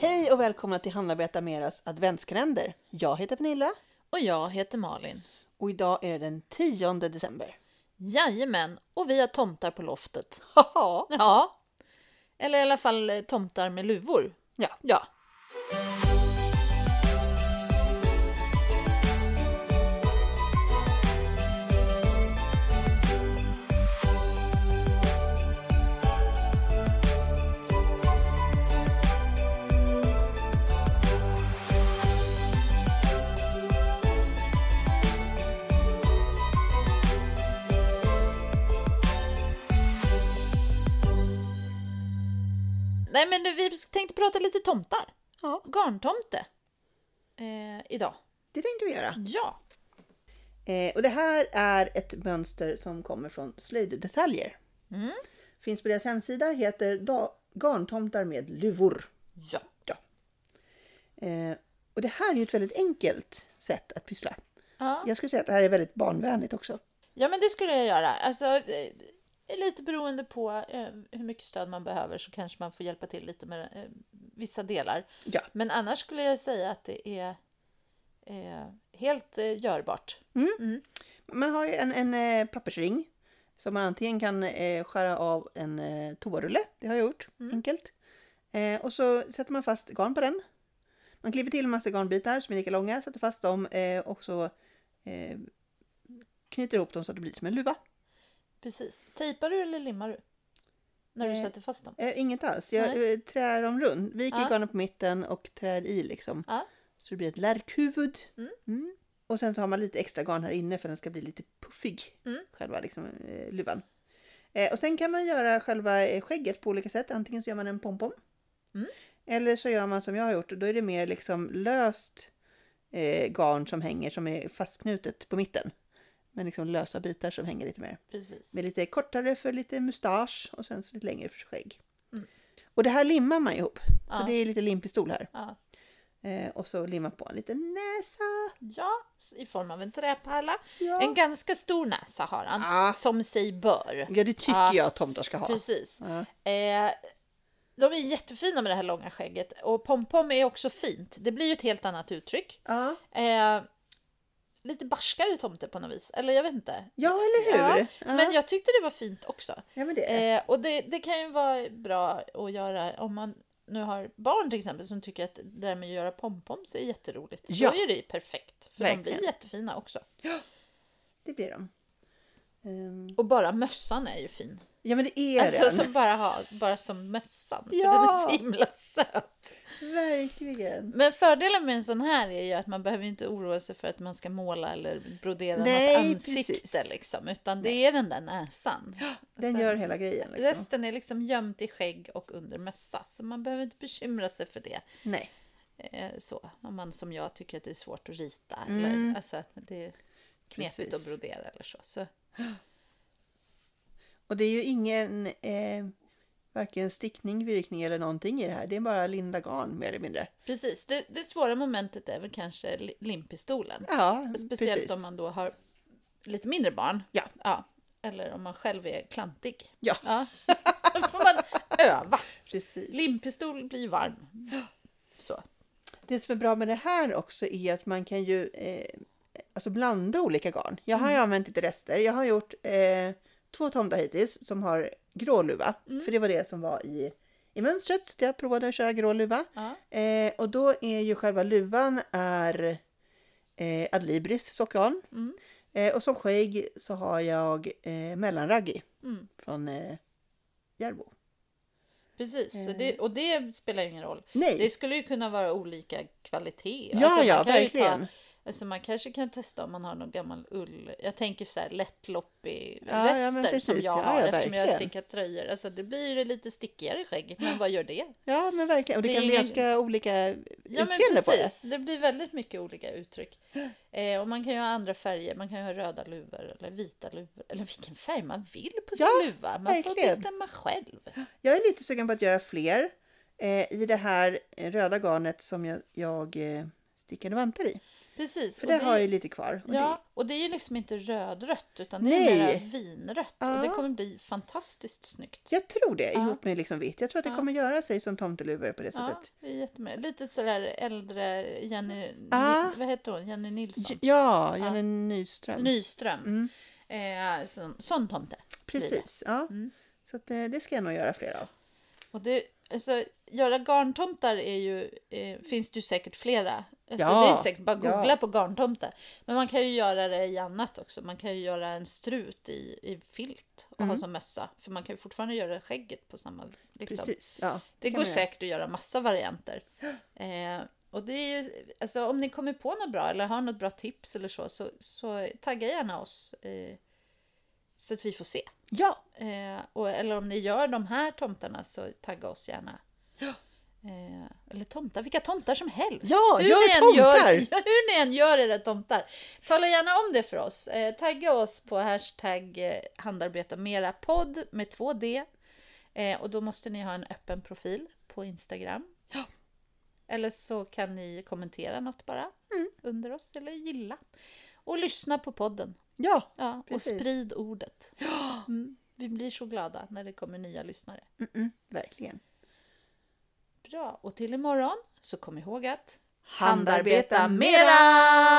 Hej och välkomna till Hanna Beta Meras adventskalender. Jag heter Pernilla Och jag heter Malin. och idag är det den 10 december. Jajamän, och vi har tomtar på loftet. Haha! Ja. Eller i alla fall eh, tomtar med luvor. Ja. Ja. Nej men nu, vi tänkte prata lite tomtar. Ja, Garntomte. Eh, idag. det tänkte vi göra. Ja. Eh, och det här är ett mönster som kommer från Slöjddetaljer. Mm. Finns på deras hemsida, heter da- Garntomtar med luvor. Ja. Eh, och det här är ju ett väldigt enkelt sätt att pyssla. Ja, Jag skulle säga att det här är väldigt barnvänligt också. ja men det skulle jag göra. Alltså, eh, lite beroende på eh, hur mycket stöd man behöver så kanske man får hjälpa till lite med eh, vissa delar. Ja. Men annars skulle jag säga att det är eh, helt eh, görbart. Man har ju en, en eh, pappersring som man antingen kan eh, skära av en eh, toarulle, det har jag gjort, enkelt. Eh, och så sätter man fast garn på den. Man klipper till en massa garnbitar som är lika långa, sätter fast dem eh, och så eh, knyter ihop dem så att det blir som en luva. Precis. Tejpar du eller limmar du? När du Eh. sätter fast dem? Eh, inget alls, jag eh, trär dem runt, viker Ja. garnen på mitten och trär i liksom. Ja. Så det blir ett lärkhuvud. Mm. Mm. Och sen så har man lite extra garn här inne för den ska bli lite puffig. Mm. Själva liksom, eh, luvan. Eh, och sen kan man göra själva eh, skägget på olika sätt. Antingen så gör man en pompom. Mm. Eller så gör man som jag har gjort. och Då är det mer liksom löst eh, garn som hänger som är fastknutet på mitten. Men liksom lösa bitar som hänger lite mer. Precis. Med lite kortare för lite mustasch och sen så lite längre för skägg. Mm. Och det här limmar man ihop. Så Ja. det är lite limpistol här. Ja. Eh, och så limma på en liten näsa. ja, i form av en träpärla. Ja, En ganska stor näsa har han, Ja. som sig bör. ja det tycker Ja. jag att tomtar ska ha. Precis. Ja. Eh, de är jättefina med det här långa skägget och pompom är också fint. Det blir ju ett helt annat uttryck. Ja. Eh, lite barskare tomte på något vis, eller jag vet inte. ja, eller hur? Ja, Ja. Men jag tyckte det var fint också. ja, men det är det. Eh, och det, det kan ju vara bra att göra om man nu har barn till exempel som tycker att det där med att göra pompoms är jätteroligt. Ja. Då är det ju perfekt, för de Verkligen. blir jättefina också. Det blir de. Ehm, Och bara mössan är ju fin. Ja, men det är alltså den. som bara, ha, bara som mössan, Ja. för den är så himla söt. Verkligen. Men fördelen med en sån här är ju att man behöver ju inte oroa sig för att man ska måla eller brodera Nej, något ansikte precis. liksom, utan det är den där näsan. Den Sen- gör hela grejen. Liksom. Resten är liksom gömt i skägg och under mössa, så man behöver inte bekymra sig för det. Nej. Eh, så, om man som jag tycker att det är svårt att rita Mm. eller alltså att det är knepigt Precis. att brodera eller så. så. Och det är ju ingen eh, varken stickning, virkning eller någonting i det här. Det är bara linda garn mer eller mindre. Precis, det, det svåra momentet är väl kanske li- limpistolen. Ja, Speciellt precis. om man då har lite mindre barn. Ja. Eller om man själv är klantig. Ja. Då får man öva. Precis. Limpistol blir varm. Så. Det som är bra med det här också är att man kan ju eh, alltså blanda olika garn. Jag Mm. har ju använt lite rester. Jag har gjort eh, två tomtar hittills som har grå luva. Mm. För det var det som var i, i mönstret. Så jag provade att köra grå luva. Ja. Eh, och då är ju själva luvan är eh, Adlibris sockgarn. Mm. Eh, och som skägg så har jag eh, mellanraggi Mm. från eh, Järbo. Precis, så Eh. det, och det spelar ju ingen roll. Nej! Det skulle ju kunna vara olika kvalitet. ja, Alltså, man ja, kan ju verkligen. Ta, alltså man kanske kan testa om man har någon gammal ull. Jag tänker så här lättloppig Ja, ja, men väster som precis. jag Ja, har ja, eftersom jag har verkligen. stickat tröjor. Alltså det blir ju det lite stickigare skägg, men vad gör det? Ja, men verkligen. Och det, Det är kan bli ingen- ganska olika Ja men utseende på det. precis, det blir väldigt mycket olika uttryck. Eh, och man kan ju ha andra färger, man kan ju ha röda luvor eller vita luvor. Eller vilken färg man vill på sin Ja, luva, man verkligen. får bestämma själv. Jag är lite sugen på att göra fler eh, i det här eh, röda garnet som jag, jag eh, stickade vantar i. Precis. För och det har ju lite kvar. Och Ja, och det är ju liksom inte rödrött utan det Nej. är mera vinrött. Och det Ja. kommer bli fantastiskt snyggt. det, jag tror det, Ja. ihop med liksom vitt. Jag tror att det Ja. kommer göra sig som tomteluvor på det Ja, sättet. det är jättemycket. Lite sådär äldre Jenny, Ja. vad heter hon? Jenny Nilsson? J- Ja, Jenny Ja. Nyström. Nyström. Mm. Eh, sån, sån tomte. Precis, ja. Mm. Så att, eh, det ska jag nog göra fler av. Och det, alltså, göra garntomtar är ju, eh, finns det ju säkert flera. Alltså, Ja, Det är säkert bara googla ja. på garntomte. Men man kan ju göra det i annat också. Man kan ju göra en strut i, i filt och Mm. ha som mössa. För man kan ju fortfarande göra skägget på samma... Liksom. Precis, ja. Det kan går man göra. säkert att göra massa varianter. Eh, och det är ju, alltså, om ni kommer på något bra eller har något bra tips eller så, så, så tagga gärna oss. Eh, så att vi får se. Ja, Eh, och, eller om ni gör de här tomtarna så tagga oss gärna. Eh, eller tomtar, vilka tomtar som helst. Ja, hur gör ni än tomtar! Gör, hur ni än gör era tomtar. Tala gärna om det för oss. Eh, tagga oss på hashtag eh, handarbetarmerapodd med 2D. Eh, och då måste ni ha en öppen profil på Instagram. Eller så kan ni kommentera något bara Mm. under oss eller gilla. Och lyssna på podden. ja. Ja, och Precis. sprid ordet. Mm, vi blir så glada när det kommer nya lyssnare. Mm-mm, verkligen. Bra, och till imorgon så kom ihåg att Handarbeta mera!